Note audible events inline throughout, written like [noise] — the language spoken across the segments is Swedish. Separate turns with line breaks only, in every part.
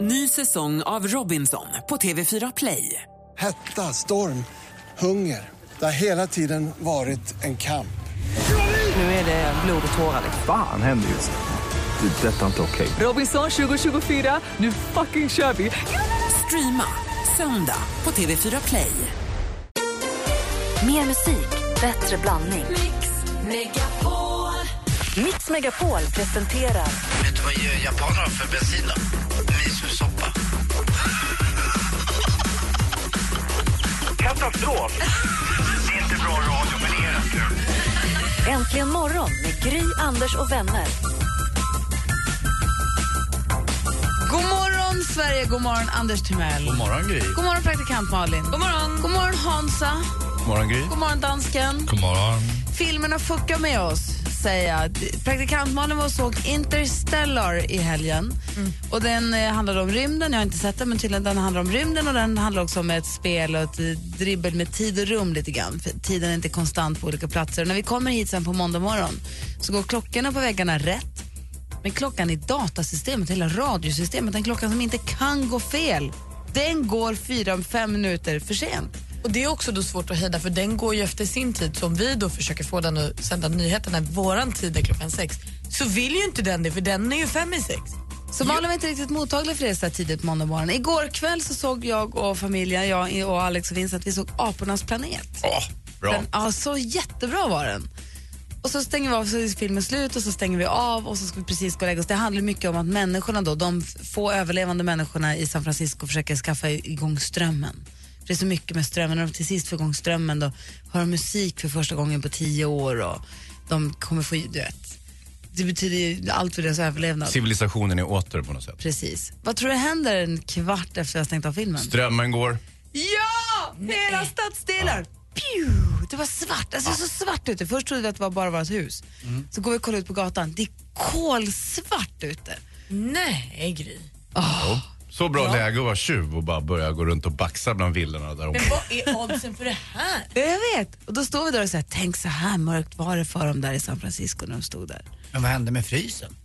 Ny säsong av Robinson på TV4 Play.
Hetta, storm, hunger. Det har hela tiden varit en kamp.
Nu är det blod och tårar.
Fan händer just nu. Det. är Detta är inte okej.
Robinson 2024, nu fucking kör vi! Streama söndag på TV4 Play.
Mer musik, bättre blandning. Mix Megapol presenterar
Vet du vad japaner har för bensin då? Misosoppa. Katastrof! Det är inte bra radio, men det är rätt kul.
Äntligen morgon med Gry, Anders och vänner.
God morgon, Sverige. God morgon, Anders Timell.
God morgon, Gry.
God morgon, praktikant Malin. God morgon, God morgon Hansa.
God morgon, Gry.
God morgon, dansken.
God morgon.
Filmerna fuckar med oss, säger jag. Praktikant Malin var och såg Interstellar i helgen. Och Den eh, handlade om rymden. Jag har inte sett den, men tydligen den handlar om rymden och den handlar också om ett spel och ett eh, dribbel med tid och rum lite grann. För tiden är inte konstant på olika platser. Och när vi kommer hit sen på måndag morgon så går klockorna på väggarna rätt. Men klockan i datasystemet, hela radiosystemet, den klockan som inte kan gå fel, den går fyra, fem minuter för sent.
Och Det är också då svårt att hejda för den går ju efter sin tid. Så om vi då försöker få den att sända nyheterna i våran tid är klockan sex så vill ju inte den det för den är ju fem i sex.
Så Malin var inte riktigt mottaglig för det så här tidigt måndag morgon. Igår kväll så såg jag och familjen, jag och Alex och Vincent, vi såg Apornas planet.
Ja, bra.
Den, ja, så jättebra var den. Och så stänger vi av, så är filmen slut och så stänger vi av och så ska vi precis gå och lägga oss. Det handlar mycket om att människorna då, de f- få överlevande människorna i San Francisco försöker skaffa i- igång strömmen. För det är så mycket med strömmen. När de till sist får igång strömmen då har de musik för första gången på tio år och de kommer få, du vet, det betyder ju allt för deras överlevnad.
Civilisationen är åter på något sätt.
Precis. Vad tror du händer en kvart efter jag stängt av filmen?
Strömmen går.
Ja! Hela stadsdelar! Pew! Det var svart. Alltså, det såg svart ute. Först trodde vi att det var bara vårt hus.
Mm.
Så går vi och kollar ut på gatan. Det är kolsvart ute.
Nej, Gry.
Så bra läge att vara tjuv och bara börja gå runt och baxa bland villorna där
Men
omkring.
vad är oddsen för det här?
Ja, Jag vet. Och då står vi där och säger, tänk så här mörkt var det för dem där i San Francisco när de stod där.
Men vad hände med frysen?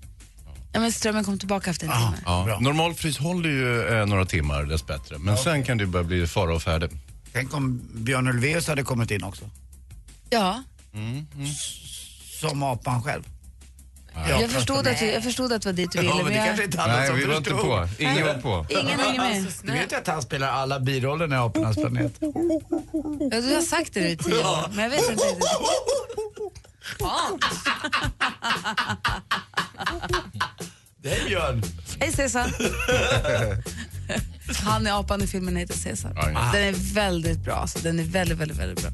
Ja, men strömmen kom tillbaka efter en
Ah.
timme.
Ja.
Bra.
Normal frys håller ju eh, några timmar dessbättre, men sen kan det börja bli fara och färde.
Tänk om Björn Ulvaeus hade kommit in också.
Ja,
Som apan själv.
jag förstod, att, du- jag förstod att det var dit du ville.
Ja, men det kanske
jag,
inte alla
Nej,
som
vi var inte
förstod.
på. Ingen var på.
ingen hänger med.
Du vet ju att han spelar alla biroller i Apornas planet.
Ja, du har sagt det nu i tio år, men jag vet inte riktigt.
Det är Björn.
Hej Cesar! [laughs] Han är apan i filmen heter Cesar.
Ja, ja.
Den är väldigt bra. Alltså. Den är väldigt, väldigt, väldigt bra.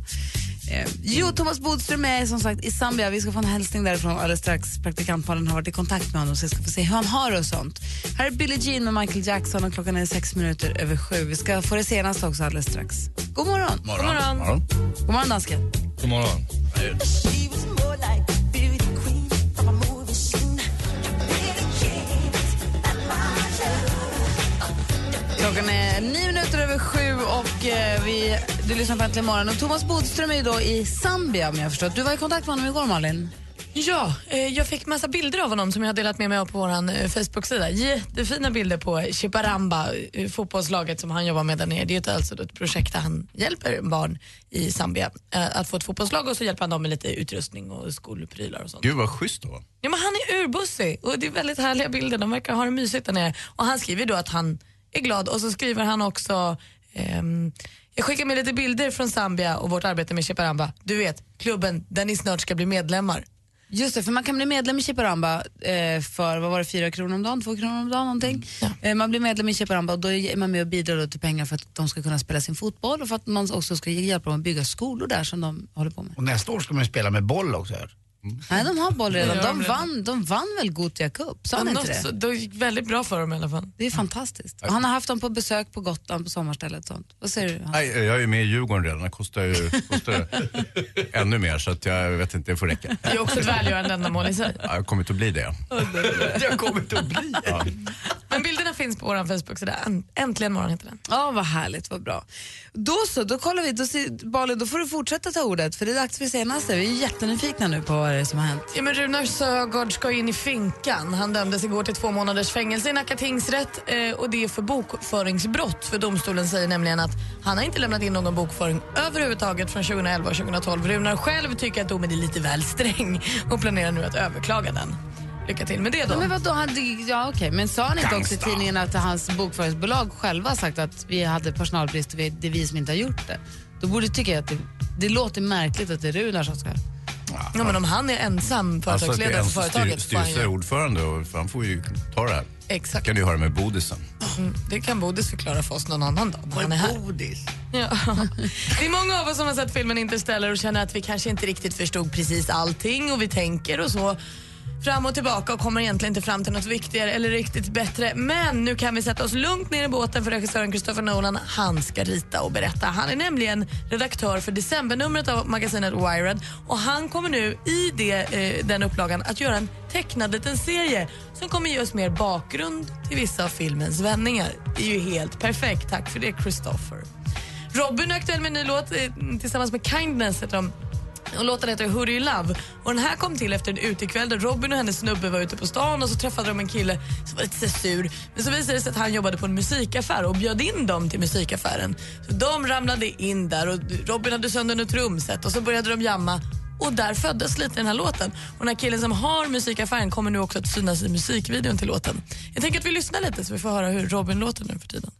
Eh, Jo, Thomas Bodström är som sagt i Zambia. Vi ska få en hälsning därifrån alldeles strax. Praktikantpalen har varit i kontakt med honom så vi ska få se hur han har det och sånt. Här är Billie Jean med Michael Jackson och klockan är sex minuter över sju. Vi ska få det senaste också alldeles strax. God morgon!
Morgon. God morgon.
God morgon dansken!
God morgon.
Klockan är nio minuter över sju och eh, vi, du lyssnar på Äntligen morgon. Och Thomas Bodström är ju då i Zambia om jag har förstått. Du var i kontakt med honom igår Malin.
Ja, eh, jag fick massa bilder av honom som jag har delat med mig av på vår Facebook-sida. Jättefina bilder på Chiparamba, eh, fotbollslaget som han jobbar med där nere. Det är ett- alltså då ett projekt där han hjälper barn i Zambia eh, att få ett fotbollslag och så hjälper han dem med lite utrustning och skolprylar och sånt.
Gud vad schysst då.
Ja, men han är urbussig och det är väldigt härliga bilder. De verkar ha det mysigt där nere. Och han skriver då att han är glad och så skriver han också ehm, jag skickar med lite bilder från Zambia och vårt arbete med Chiparamba. Du vet, klubben där ni snart ska bli medlemmar.
Just det, för man kan bli medlem i Chiparamba eh, för vad var det, 4 kronor om dagen, 2 kronor om dagen någonting. Eh, man blir medlem i Chiparamba och då är man med och bidrar då till pengar för att de ska kunna spela sin fotboll och för att man också ska hjälpa dem att bygga skolor där som de håller på med.
Och nästa år ska man ju spela med boll också. hör.
Nej, de har boll redan.
Ja,
De
men-
vann, de vann väl Gothia Cup? Sa han inte
Något så-
det?
det gick väldigt bra för dem i alla fall.
Det är fantastiskt. Och han har haft dem på besök på Gotland på sommarstället och sånt. Vad säger du? Hans?
Nej, eh, jag är ju med i Djurgården redan. Det kostar ju
[laughs]
kostar ju ännu mer så att jag vet inte, det får räcka.
Det är också ett välgörande ändamål i sig.
Ja, Jag kommer inte att bli det.
Jag kommer inte att bli.
Men bilderna Bilderna finns på vår Facebook-sida. Änt- Äntligen morgon heter den.
Ja, vad härligt, vad bra. Då så, då kollar vi. Då, ser- Malin, då får du fortsätta ta ordet för det är dags för senaste. Vi är jättenyfikna nu på vad det är som har hänt.
Ja, men Runar Sögaard ska in i finkan. Han dömdes igår till två månaders fängelse i Nacka tingsrätt eh, och det är för bokföringsbrott. För domstolen säger nämligen att han har inte lämnat in någon bokföring överhuvudtaget från 2011 och 2012. Runar själv tycker att domen är lite väl sträng och planerar nu att överklaga den. Lycka till med det då.
Men vadå, han, ja, okej. men sa han inte också i tidningen att hans bokföringsbolag själva sagt att vi hade personalbrist och vi, det är vi som inte har gjort det? Då borde tycka jag att det, det låter märkligt att det är Runar som ska...
Ja, men om han är ensam
Alltså att det är
företagsledare
en
för
styr,
företaget får han ju...
styrelseordförande och han får ju ta det här.
Exakt.
kan du höra med Bodisen.
Mm, Det kan Bodis förklara för oss någon annan dag. när Han är här.
Bodis.
[laughs] Ja. Det är många av oss som har sett filmen Interstellar och känner att vi kanske inte riktigt förstod precis allting och vi tänker och så fram och tillbaka och kommer egentligen inte fram till något viktigare eller riktigt bättre. Men nu kan vi sätta oss lugnt ner i båten för regissören Christopher Nolan. Han ska rita och berätta. Han är nämligen redaktör för decembernumret av magasinet Wired och han kommer nu i det, eh, den upplagan att göra en tecknad liten serie som kommer ge oss mer bakgrund till vissa av filmens vändningar. Det är ju helt perfekt. Tack för det Christopher. Robin är aktuell med en ny låt eh, tillsammans med Kindness heter de. Och låten heter Hurry Love. Och den här kom till efter en utekväll där Robin och hennes snubbe var ute på stan och så träffade de en kille som var lite så sur. Men så visade det sig att han jobbade på en musikaffär och bjöd in dem till musikaffären. Så de ramlade in där och Robin hade sönder något trumset och så började de jamma. Och där föddes lite den här låten. Och den här killen som har musikaffären kommer nu också att synas i musikvideon till låten. Jag tänker att vi lyssnar lite så vi får höra hur Robin låter nu för tiden.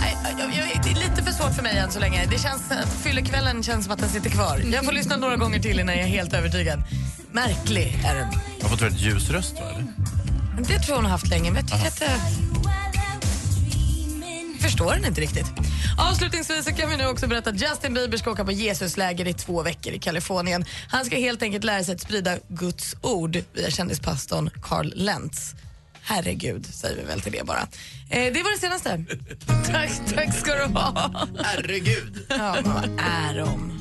Nej, jag, jag, det är lite för svårt för mig än så länge. Det känns, att fyllekvällen känns som att den sitter kvar. Jag får lyssna några gånger till innan jag är helt övertygad. Märklig är den.
Han får ta ett ljus röst va? Eller?
Men Det tror jag hon har haft länge, men jag tycker att det... förstår den inte riktigt. Avslutningsvis så kan vi nu också berätta att Justin Bieber ska åka på Jesusläger i två veckor i Kalifornien. Han ska helt enkelt lära sig att sprida Guds ord via kändispastorn Carl Lentz. Herregud, säger vi väl till det bara. Eh, det var det senaste. [laughs] tack, tack ska du ha.
Herregud.
Ja, vad är de?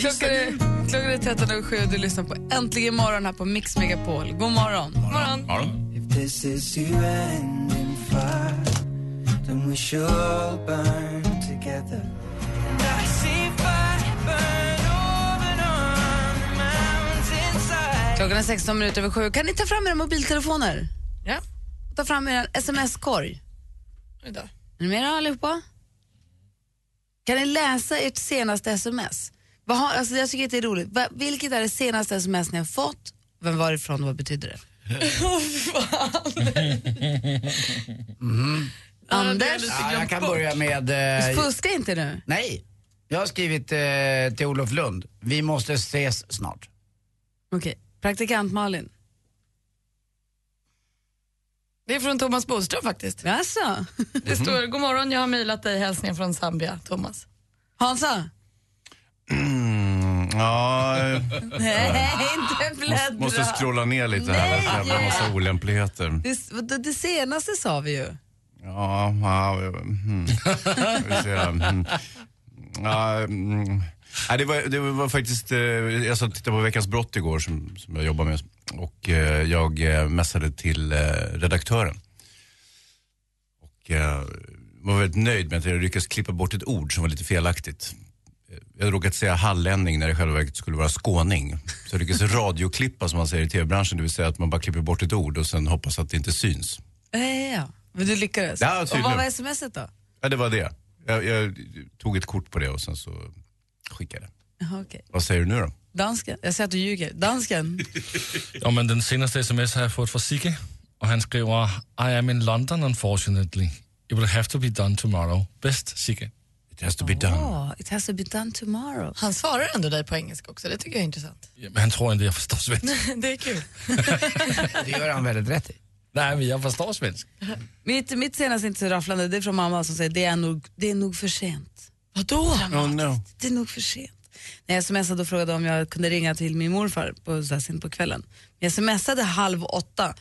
Klockan är, klockan är 13.07 och du lyssnar på Äntligen morgon här på Mix Megapol. God morgon.
Morgon.
Ja.
Klockan är 16 minuter över sju. Kan ni ta fram era mobiltelefoner?
Ja,
Ta fram er sms-korg.
idag.
Är ni med då, allihopa? Kan ni läsa ert senaste sms? Vad har, alltså jag tycker att det är roligt. Va, vilket är det senaste sms ni har fått? Vem var det ifrån och vad betyder det?
Eh,
Anders,
Ja, jag kan börja med... eh,
fuska inte nu.
nej. Jag har skrivit eh, till Olof Lund. Vi måste ses snart.
Okej, praktikant Malin.
Det är från Thomas Bodström faktiskt.
Jaså?
[laughs] Det står god morgon, jag har mejlat dig hälsningar från Zambia, Thomas.
[laughs]
Hansa?
Mm, ja, eh,
Nej, inte
måste,
bläddra.
måste scrolla ner lite här. Det är en jävla massa olämpligheter.
Det, det, det senaste sa vi ju.
Ja, ja, mm. Vi ser, mm. ja, mm. Nej, det, var, det var faktiskt, eh, jag satt och tittade på Veckans brott igår som, som jag jobbar med och eh, jag eh, messade till eh, redaktören. Och eh, var väldigt nöjd med att jag lyckades klippa bort ett ord som var lite felaktigt. Eh, Jag hade råkat säga hallänning när det i själva verket skulle vara skåning. Så jag lyckades [laughs] radioklippa som man säger i tv-branschen, det vill säga att man bara klipper bort ett ord och sen hoppas att det inte syns.
Ja, ja, ja. Men du lyckades.
Ja,
och vad
tydligen.
var smset då?
Ja, det var det. Jag, jag tog ett kort på det och sen så skickade jag det.
Jaha, okej.
Vad säger du nu då?
Dansken. Jag ser att du ljuger. Dansken.
Ja, men den senaste sms har jag fått från Sigge och han skriver I am in London unfortunately. It will have to be done tomorrow. Best Sigge.
It has to be done.
Oh, it has to be done tomorrow.
Han svarar ändå dig på engelska också, det tycker jag är intressant. [laughs]
Ja, men han tror inte jag förstår svensk.
Det är kul.
Det gör han
[laughs]
väldigt rätt i.
Nej, men jag förstår svensk.
Mitt, mitt senaste inte så rafflande, det är från mamma som säger det är nog, det är nog för sent.
Vadå?
Oh no.
det är nog för sent. När jag smsade och frågade om jag kunde ringa till min morfar på, så här, sent på kvällen. Jag smsade halv åtta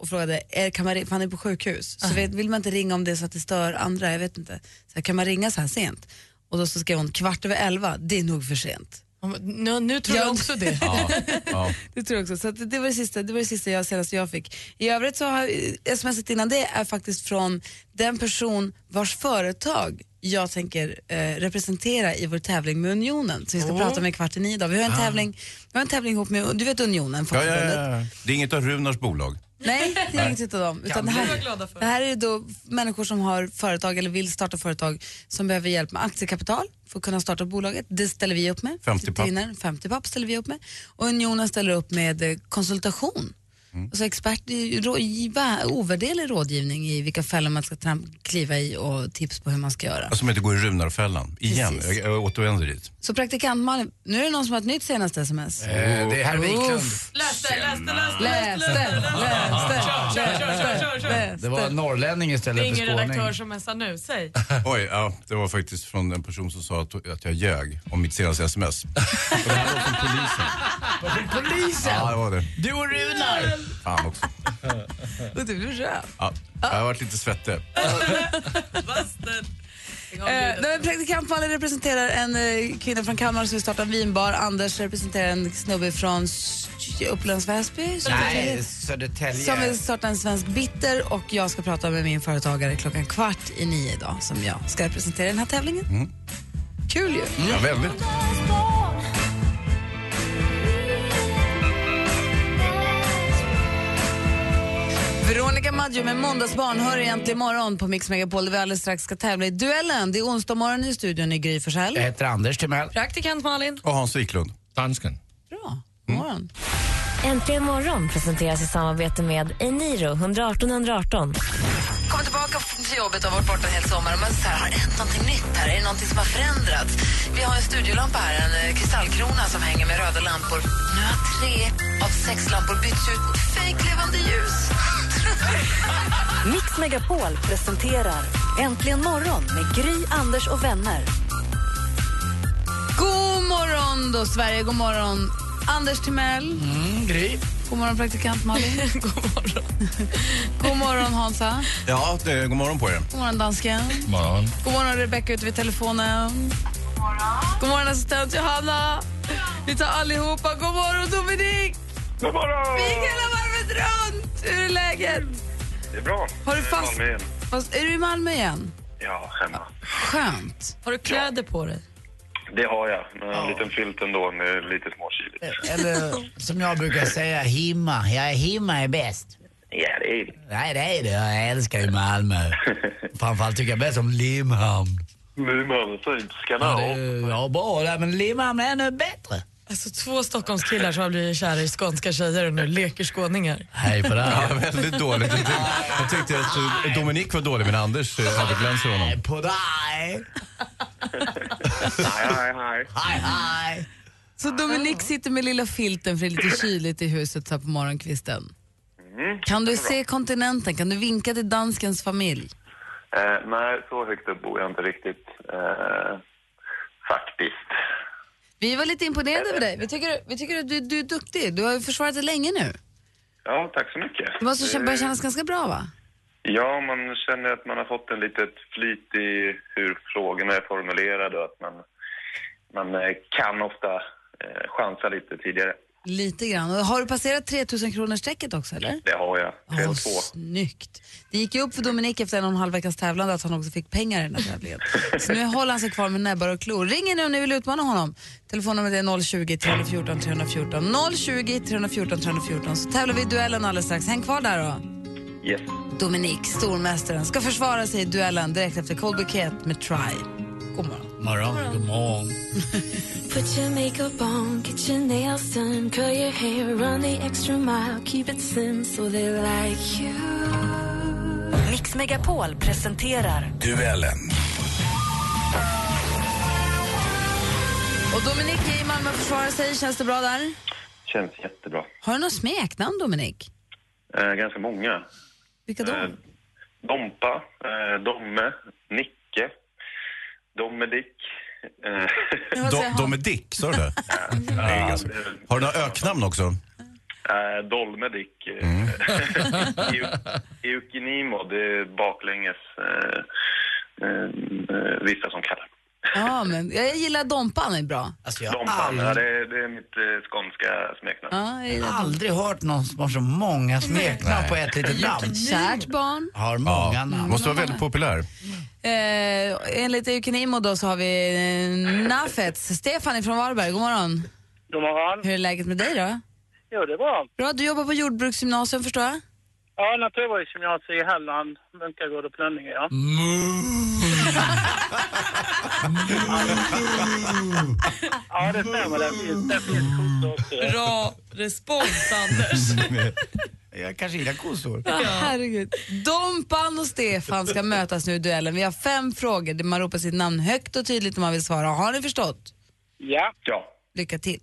och frågade, är, kan man, ri- för han är på sjukhus, så vet, vill man inte ringa om det är så att det stör andra, jag vet inte. Så här, kan man ringa så här sent? Och då så skrev hon kvart över elva, det är nog för sent.
Nu, nu tror jag
Jag-
också [laughs] det.
Ja, ja.
Det tror jag också. Så att det, var det, sista, det var det sista jag senaste jag fick. I övrigt så har eh, smset innan det är faktiskt från den person vars företag jag tänker eh, representera i vår tävling med Unionen. Så vi ska prata med kvart i nio idag. Vi har en tävling, vi har en tävling ihop med, du vet Unionen,
Ah. Ja, ja,
fackförbundet.
ja. Det är inget av Runars bolag.
Nej, det är inget utav dem. Utan det, här, det här är då människor som har företag eller vill starta företag som behöver hjälp med aktiekapital för att kunna starta bolaget. Det ställer vi upp med.
50 papp.
Vinner, 50 papp ställer vi upp med. Och Unionen ställer upp med eh, konsultation.
Mm.
Alltså expert, i rå- i vä- ovärderlig rådgivning i vilka fällor man ska tramp- kliva i och tips på hur man ska göra.
alltså, Som inte går i Runarfällan. Igen, jag,
Precis.
jag
[laughs]
återvänder dit.
Så praktikant Malin, nu är det någon som har ett nytt senaste sms.
Eh, det är herr Wiklund.
Uff.
Läste, läste, läste,
Läs det, läs det,
Kör, kör, kör, kör, kör.
läs
Det var
det.
norrlänning istället
Ringer
för skåning.
redaktör som messar nu, säg.
Oj, ja, det var faktiskt från en person som sa att, att jag ljög om mitt senaste sms. Och det här var från polisen.
Polisen!
Ja, det var det.
Du och Runar!
Fan också.
Och du blev röd.
Ja. Jag har varit lite
Mm.
svettig.
Eh, nej, men praktikant Malin representerar en eh, kvinna från Kalmar som vill starta en vinbar. Anders representerar en snubbe från S- Upplands Väsby som,
Nej, Södertälje.
som vill starta en svensk bitter och jag ska prata med min företagare klockan kvart i nio idag som jag ska representera i den här tävlingen. Kul ju!
Ja, väldigt.
Veronica Maggio med Måndagsbarn hör egentligen imorgon på Mix Megapol där vi alldeles strax ska tävla i duellen. Det är onsdag morgon i studion i Gry Forssell.
Jag heter Anders Timell.
Praktikant [laughs] Malin.
Och Hans Wiklund.
Dansken.
Bra, God morgon.
Äntligen morgon presenteras i samarbete med Eniro 118 118.
Kommer tillbaka till jobbet och har varit borta en hel sommar. Man så här, har det hänt någonting nytt här? Är det någonting som har förändrats? Vi har en studiolampa här, en eh, kristallkrona som hänger med röda lampor. Nu har tre av sex lampor bytts ut mot fejklevande ljus.
[laughs] Mix Megapol presenterar Äntligen morgon med Gry, Anders och vänner.
God morgon då, Sverige. God morgon, Anders Timell.
Mm, Gry.
God morgon, praktikant Malin. God morgon. God morgon, Hansa.
Ja, det, god morgon på er.
God morgon, dansken.
Morgon.
God morgon, Rebecca ute vid telefonen. God morgon, assistent Johanna. Vi tar allihopa. God morgon, Dominik.
God morgon!
Vi gick hela varvet runt. Hur är läget?
Det är bra.
Har du
Jag är i
fast-
Malmö igen.
Fast, är du i Malmö igen?
Ja, hemma.
Skönt.
Har du kläder på dig?
Det har jag, men en liten filt ändå med lite småkyligt.
Eller som jag brukar säga, himma. Ja, himma är bäst.
Ja, det är
Nej, det är det. Jag älskar
[laughs]
ju Malmö. Framförallt tycker jag bäst om Limhamn.
Nymalmö, fint.
Ja, det
Skanal.
är, ja bra. där, Men Limhamn är ännu bättre.
Alltså två Stockholmskillar som har blivit kära i skånska tjejer och nu leker skåningar.
Hej på [laughs]
Ja,
dig.
väldigt dåligt. Jag tyckte, jag tyckte att eh, Dominik var dålig, men Anders eh, överglänser honom.
Hej på dig.
Hej, hej, hej.
Hej, hej.
Så Dominik sitter med lilla filten för det är lite kyligt i huset så här på morgonkvisten.
Mm.
Kan du se kontinenten? Kan du vinka till danskens familj?
Eh, nej, så högt upp bor jag inte riktigt. Eh, faktiskt.
Vi var lite imponerade över dig. Vi tycker, vi tycker att du, du är duktig. Du har ju försvarat det länge nu.
Ja, tack så mycket.
Du måste känna- börja
Eh,
kännas ganska bra, va?
Ja, man känner att man har fått en litet flyt i hur frågorna är formulerade och att man, man eh, kan ofta eh, chansa lite tidigare.
Lite grann. Och har du passerat 3000 kronors strecket också, eller?
Det har jag.
Åh,
3-2.
snyggt. Det gick ju upp för Dominik efter en och en halv veckas tävlande att han också fick pengar i den här tävlingen. Så nu håller han sig kvar med näbbar och klor. Ring in nu om ni vill utmana honom. Telefonnumret är 020-314 314. 020-314 314. Så tävlar vi i duellen alldeles strax. Häng kvar där då.
Yes.
Dominik, stormästaren, ska försvara sig i duellen direkt efter Cold Buket med Try. God morgon.
Morgon. God morgon.
Put your makeup on, get your nails done, curl your hair, run the extra mile, keep it slim so they like you. Mix Megapol presenterar
Duellen.
Alltså,
Och Dominik är i Malmö och försvarar sig. Känns det bra där?
Känns jättebra.
Har du något smeknamn, Dominik?
Eh, ganska många.
Vilka då?
Eh, Dompa, eh, Domme, Nicke, Dominic. eh, [laughs]
Do, Domedick, sa du det? Det är ganska- Har du några öknamn också?
eh, Dolmedic. eh, [laughs] Eu- Eukinimo, det är baklänges eh, eh, eh, vissa som kallar
Ja, men jag gillar Dompan, är bra.
Alltså,
Dompan, ja, det, är- det är mitt eh, skånska smeknamn.
Jag har aldrig hört någon som har så många smeknamn på ett litet namn.
Kärt barn.
Har många namn.
Måste vara väldigt populär.
Eh, enligt Eukenimo då så har vi eh, Nafets. Stefan från Varberg, god morgon.
God morgon.
Hur är läget med dig då?
Jo, det är bra.
Bra, du jobbar på jordbruksgymnasium förstår jag?
Ja, Naturvårdsgymnasiet i Halland, Munkagård och Plönninge, ja. ja, det stämmer. Det finns, det finns kossor också.
Bra respons, Anders.
Jag kanske gillar kossor.
[laughs] Ja. Herregud. Dompan och Stefan ska mötas nu i duellen. Vi har fem frågor där man ropar sitt namn högt och tydligt om man vill svara. Har ni förstått?
Ja. ja.
Lycka till.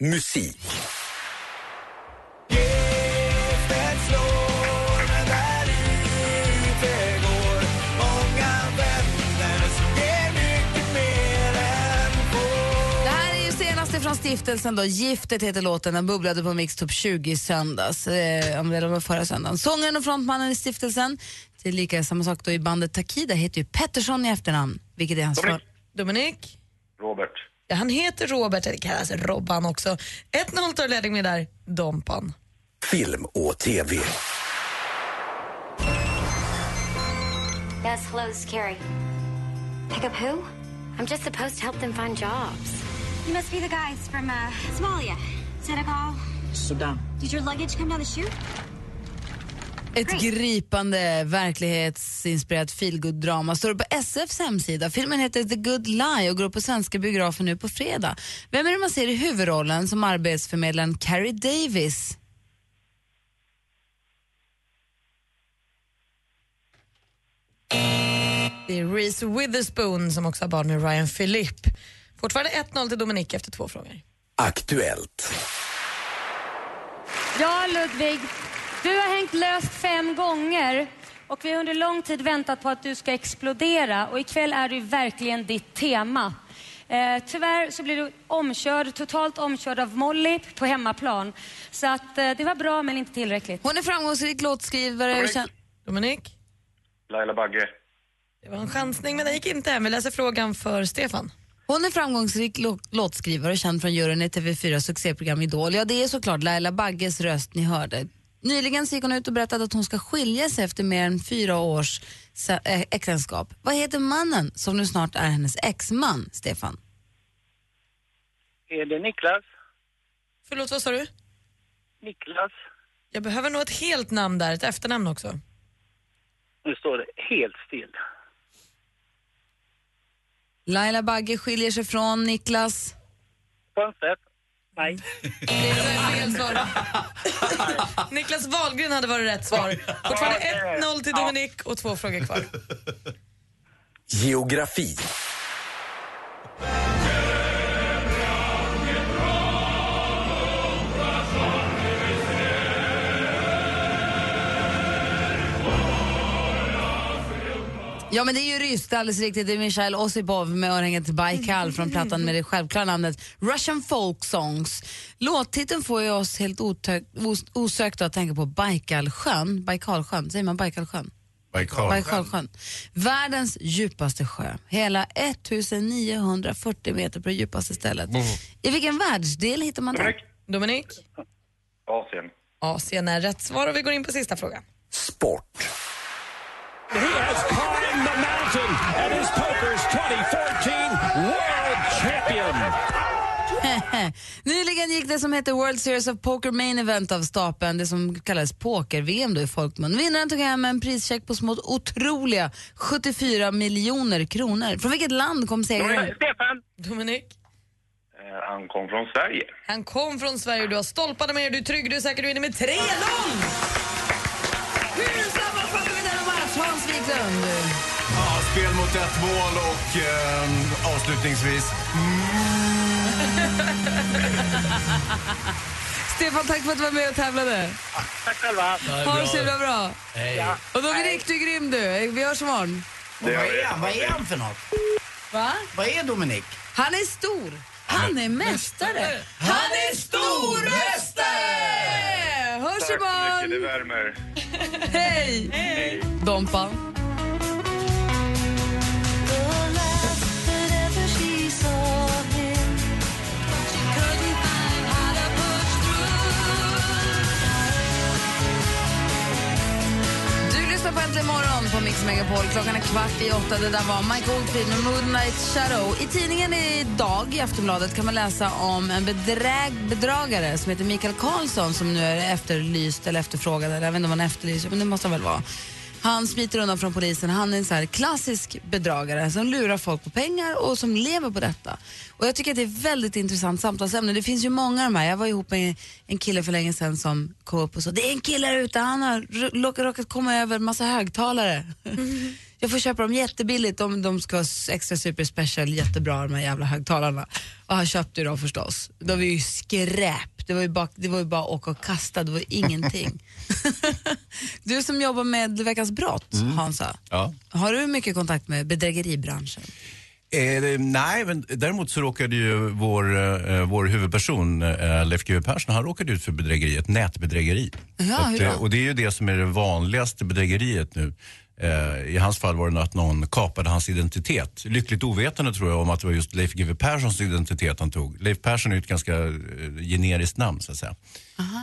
Musik.
Det här är ju senaste från stiftelsen då. Giftet heter låten. Den bubblade på Mix Top 20 i söndags. Eh, om det var förra söndagen. Sångaren och frontmannen i stiftelsen, tillika samma sak då i bandet Takida, heter ju Pettersson i efternamn. Vilket är hans svar.
Dominik?
Robert.
Ja, han heter Robert, eller kallas Robban också. 1-0 tar ledning med där, Dompan.
Film och TV.
Yes, hello, Carrie. Pick up who? I'm just supposed to help them find jobs.
You must be the guys from uh, Somalia, Senegal. Sudan. Did your luggage come down the chute?
Ett gripande, verklighetsinspirerat feelgood-drama står det på SFs hemsida. Filmen heter The Good Lie och går upp på svenska biografer nu på fredag. Vem är det man ser i huvudrollen som arbetsförmedlaren Carrie Davis?
Det är Reese Witherspoon som också har barn med Ryan Philip. Fortfarande 1-0 till Dominik efter två frågor.
Aktuellt.
Ja, Ludvig. Du har hängt löst fem gånger och vi har under lång tid väntat på att du ska explodera och ikväll är det ju verkligen ditt tema. Eh, tyvärr så blir du omkörd, totalt omkörd av Molly på hemmaplan. Så att eh, det var bra men inte tillräckligt.
Hon är framgångsrik låtskrivare.
Dominik. Dominik,
Laila Bagge.
det var en chansning men den gick inte hem. Vi läser frågan för Stefan.
Hon är framgångsrik lå- låtskrivare och känd från juryn i TV4 succéprogram Idol. Ja, det är såklart Laila Bagges röst ni hörde. Nyligen så gick hon ut och berättade att hon ska skilja sig efter mer än fyra års sa- ä- äktenskap. Vad heter mannen som nu snart är hennes exman, Stefan?
Är det Niklas?
Förlåt, vad sa du?
Niklas.
Jag behöver nog ett helt namn där, ett efternamn också.
Nu står det helt still.
Laila Bagge skiljer sig från Niklas.
Sjöstedt? Nej.
[laughs] Niklas Wahlgren hade varit rätt svar. Fortfarande 1-0 till Dominik och två frågor kvar.
Geografi.
Ja, men det är ju ryskt, alldeles riktigt. Det är Michail Osipov med örhänget Baikal från plattan med det självklara namnet Russian Folk Songs. Låttiteln får ju oss helt otök, os, osökt att tänka på Baikalsjön. Baikalsjön, säger man Baikalsjön?
Baikal.
Baikalsjön. Världens djupaste sjö. Hela 1940 meter på det djupaste stället. I vilken världsdel hittar man det?
Dominik?
Asien.
Asien är rätt svar och vi går in på sista frågan.
He has climbed the mountain and is poker's 2014 world champion.
[laughs] Nyligen gick det som heter World Series of Poker Main Event av stapeln, det som kallas poker-VM då i folkmun. Vinnaren tog hem en prischeck på smått otroliga 74 miljoner kronor. Från vilket land kom segern?
Stefan!
Dominik?
Eh, han kom från Sverige.
Han kom från Sverige, du har stolpade med er, du är trygg, du är säker, du vinner med 3-0!
Hur sammanfattar vi denna match, Hans Wiklund?
Ja, spel mot ett mål och eh, avslutningsvis...
Stefan, tack för att du var med och tävlade.
Tack själva.
Ha det så himla bra.
Hej.
Och Dominik, du är grym du. Vi hörs imorgon.
Vad är han? Vad är han för något?
Va?
Vad är Dominik?
Han är stor. Han är mästare. Han är stormästare! Hörs i
Tack så mycket, det
morgon.
värmer.
Hej! Dompa. Du lyssnar på Äntligen morgon på Mix Megapol. Klockan är kvart i åtta. Det där var Mike Oldfield med Moonlight Shadow. I tidningen idag, i Aftonbladet, kan man läsa om en bedräg bedragare som heter Mikael Karlsson som nu är efterlyst eller efterfrågad. Eller Jag vet inte om han är efterlyst, men det måste han väl vara. Han smiter undan från polisen. Han är en så här klassisk bedragare som lurar folk på pengar och som lever på detta. Och Jag tycker att det är ett väldigt intressant samtalsämne. Det finns ju många av de här. Jag var ihop med en kille för länge sedan som kom upp och sa det är en kille där ute, han har råkat- råkat komma över en massa högtalare. Jag får köpa dem jättebilligt om de ska ha s- extra super special, jättebra de här jävla högtalarna. Och han köpte ju dem förstås. De var ju skräp, det var ju bara, det var ju bara att åka och kasta, det var ju ingenting. du som jobbar med Veckans brott, Hansa,
Ja.
har du mycket kontakt med bedrägeribranschen?
Eh, det- nej, men däremot så råkade ju vår, eh, vår huvudperson, eh, Leif GW Persson, han råkade ut för bedrägeri, ett nätbedrägeri.
Ja,
Att,
hur
eh,
då?
och det är ju det som är det vanligaste bedrägeriet nu. Eh, I hans fall var det att någon kapade hans identitet. Lyckligt ovetande tror jag om att det var just Leif GW Perssons identitet han tog. Leif Persson är ju ett ganska eh, generiskt namn så att säga.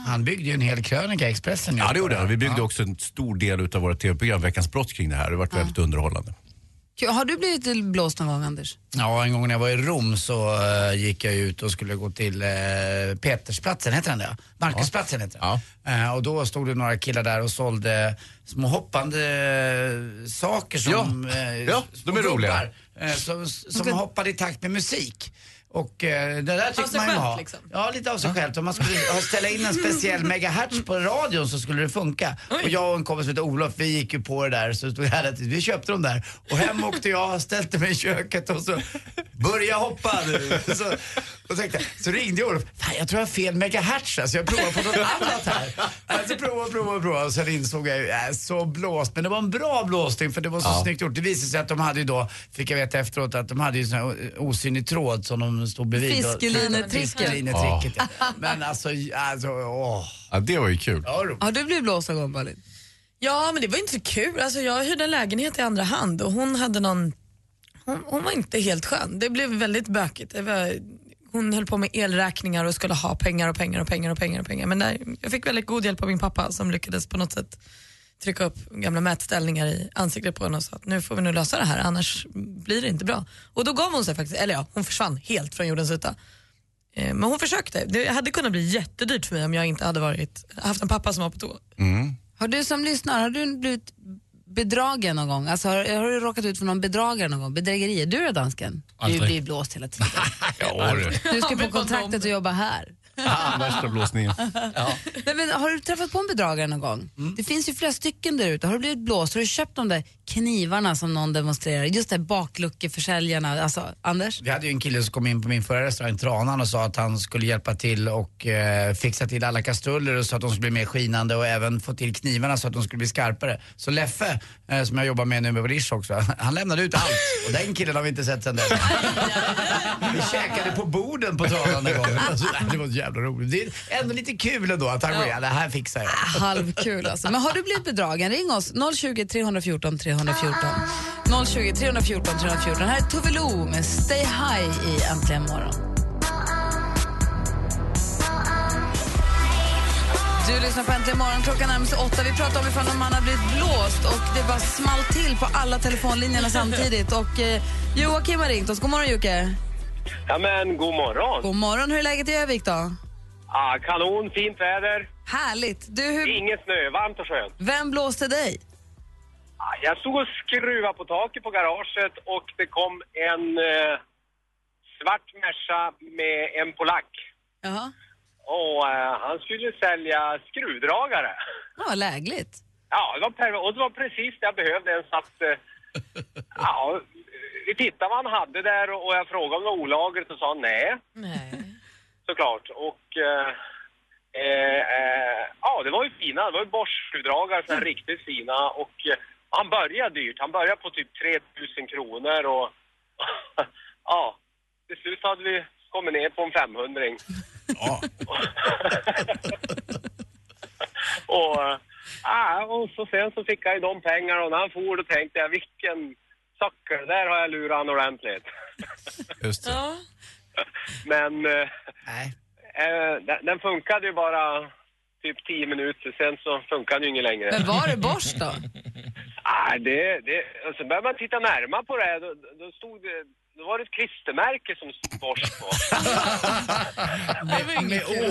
Han byggde ju en hel krönika i Expressen.
Ja, det gjorde han. Vi byggde
Ja.
också en stor del av våra tv-program, Veckans brott, kring det här. Det har varit väldigt underhållande.
Kul. Har du blivit blåst någon gång, Anders?
Ja, en gång när jag var i Rom så eh, gick jag ut och skulle gå till eh, Petersplatsen, heter den det? Markusplatsen heter den. Eh, och då stod det några killar där och sålde små hoppande eh, saker som...
Ja.
eh,
Ja, de är
små
roliga.
gubbar, eh, som som hoppade i takt med musik. Och eh, det där tyckte
sig
man ju
självt,
ha.
liksom.
Ja, lite av sig självt. Om man skulle ha- ställa in en speciell megahertz på radion så skulle det funka. Och jag och en kompis som heter Olof, vi gick ju på det där så det stod här att vi köpte dem där. Och hem åkte jag, ställde mig i köket och så börja hoppa nu. Så, och tänkte, så ringde jag Olof, fan jag tror jag har fel megahertz alltså, jag provar på något annat här. Alltså prova, prova, prova. Och sen insåg jag ju, äh, så blåst. Men det var en bra blåsning för det var så
Ja.
snyggt gjort. Det visade sig att de hade ju då, fick jag veta efteråt, att de hade ju sån här o- osynlig tråd som de stod bredvid. och-
Fiskelinetricket.
Fiskelinetricket, ja. Men alltså, alltså åh.
Ja, det var ju kul.
Har du blivit blåst någon gång, Malin?
Ja, men det var inte så kul. Alltså, jag hyrde en lägenhet i andra hand och hon hade någon... Hon, hon var inte helt skön. Det blev väldigt bökigt. Det var, hon höll på med elräkningar och skulle ha pengar och pengar och pengar och pengar. Och pengar. Men där, jag fick väldigt god hjälp av min pappa som lyckades på något sätt trycka upp gamla mätställningar i ansiktet på henne och sa att nu får vi nu lösa det här annars blir det inte bra. Och då gav hon sig faktiskt, eller ja, hon försvann helt från jordens yta. Eh, Men hon försökte. Det hade kunnat bli jättedyrt för mig om jag inte hade varit, haft en pappa som var på tå.
Har du som lyssnar, har du blivit bedragen någon gång? Alltså, har, har du råkat ut för någon bedragare någon gång? Bedrägerier? Du då, dansken? Du
Aldrig.
blir blåst hela tiden.
Ja, [laughs]
Du ska på kontraktet och jobba här.
Värsta blåsningen.
Nej, men har du träffat på en bedragare någon gång? Det finns ju flera stycken där ute. Har du blivit blåst? Har du köpt de där knivarna som någon demonstrerar? Just det, här bakluckeförsäljarna. Alltså, Anders?
Vi hade ju en kille som kom in på min förra restaurang, Tranan, och sa att han skulle hjälpa till och eh, fixa till alla kastruller och så att de skulle bli mer skinande och även få till knivarna så att de skulle bli skarpare. Så Leffe, eh, som jag jobbar med nu med Rish också, han lämnade ut allt. Och den killen har vi inte sett sedan dess. Vi käkade på borden på Tranan en gång. Alltså, det var så jävla roligt. Det är ändå lite kul ändå att han går, ja. det här fixar jag.
Halvkul alltså. Men har du blivit bedragen? Ring oss. 020 314 314. 020 314 314. Här är Tove Lo med Stay High i Äntligen morgon. Du lyssnar på Äntligen morgon. Klockan närmar sig åtta. Vi pratar om ifall någon man har blivit blåst och det bara small till på alla telefonlinjerna samtidigt. Och eh, Joakim har ringt oss. God morgon Jocke.
Ja men god morgon.
God morgon. Hur är läget i Övik då?
Ah, kanon, fint väder.
Härligt. Du, hur...
Ingen snö, varmt och skönt.
Vem blåste dig?
Ah, jag stod och skruvade på taket på garaget och det kom en eh, svart Merca med en polack.
Jaha.
Och eh, han skulle sälja skruvdragare.
Ja, lägligt.
Ja, det var, perv- och det var precis det jag behövde. En satt, eh, ja, vi tittade vad han hade där och och jag frågade om det var olagligt och sa han nej. [laughs] Såklart. Och eh, eh, eh, ja, det var ju fina. Det var ju Bosch-skruvdragare, sådana här riktigt fina. Och eh, Han började dyrt. Han började på typ 3000 kronor och... [laughs] ja, till slut hade vi kommit ner på en 500 Ja. och, ja, och så sen så fick jag ju de pengarna och när han for då tänkte jag vilken sucker, där har jag lurat han ordentligt.
[laughs] Just det.
Men eh, eh, den, den funkade ju bara typ 10 minuter, sen så funkade den ju inget längre.
Men var det Bosch då?
Nej, det, det, och sen började man titta närmare på det här. Då, då stod det, då var det ett klistermärke som stod Bosch
[laughs]
på. det var inget Å.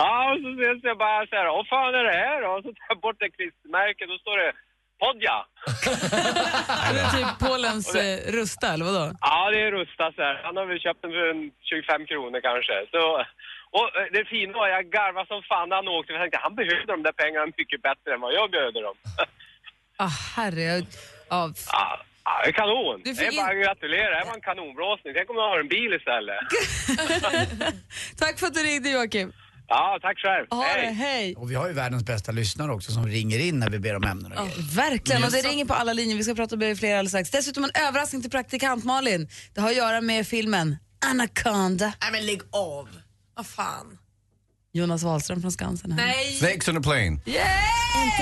Ja, och så sen så jag bara så här, vad fan är det här då? Och så tar jag bort det klistermärket, då står det Podja.
Eller typ Polens eh, Rusta, eller vadå?
Ja, det är Rusta så här. Han har väl köpt den för en 25 kronor kanske. Så, och eh, det fina var, jag garvade som fan när han åkte. Jag tänkte, han behövde de där pengarna mycket bättre än vad jag behövde dem. [laughs]
Ah, herre, jag... ah, f-
Ja, det är kanon!
Du fick
Det är bara
in-
att gratulera, det var en kanonblåsning. Tänk om jag har en bil istället.
Tack för att du ringde Joakim.
Ja, tack själv.
Ha det, hej.
Och vi har ju världens bästa lyssnare också som ringer in när vi ber om ämnen.
Ja, Ah, verkligen, och det ringer på alla linjer. Vi ska prata med fler alldeles strax. Dessutom en överraskning till praktikant Malin. Det har att göra med filmen Anaconda.
Nej men lägg av. Vad fan.
Jonas Wahlström från Skansen. här.
Snakes on a plane.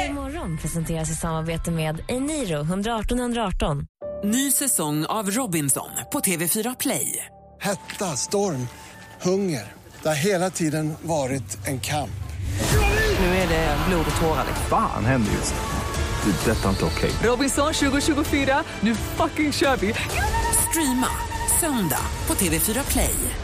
Äntligen morgon presenteras i samarbete med Eniro 118 118.
Ny säsong av Robinson på TV4 Play.
Hetta, storm, hunger. Det har hela tiden varit en kamp.
Nu är det blod och tårar.
Fan händer just det. Det är detta inte okej.
Robinson 2024, nu fucking kör vi! Streama söndag på TV4 Play.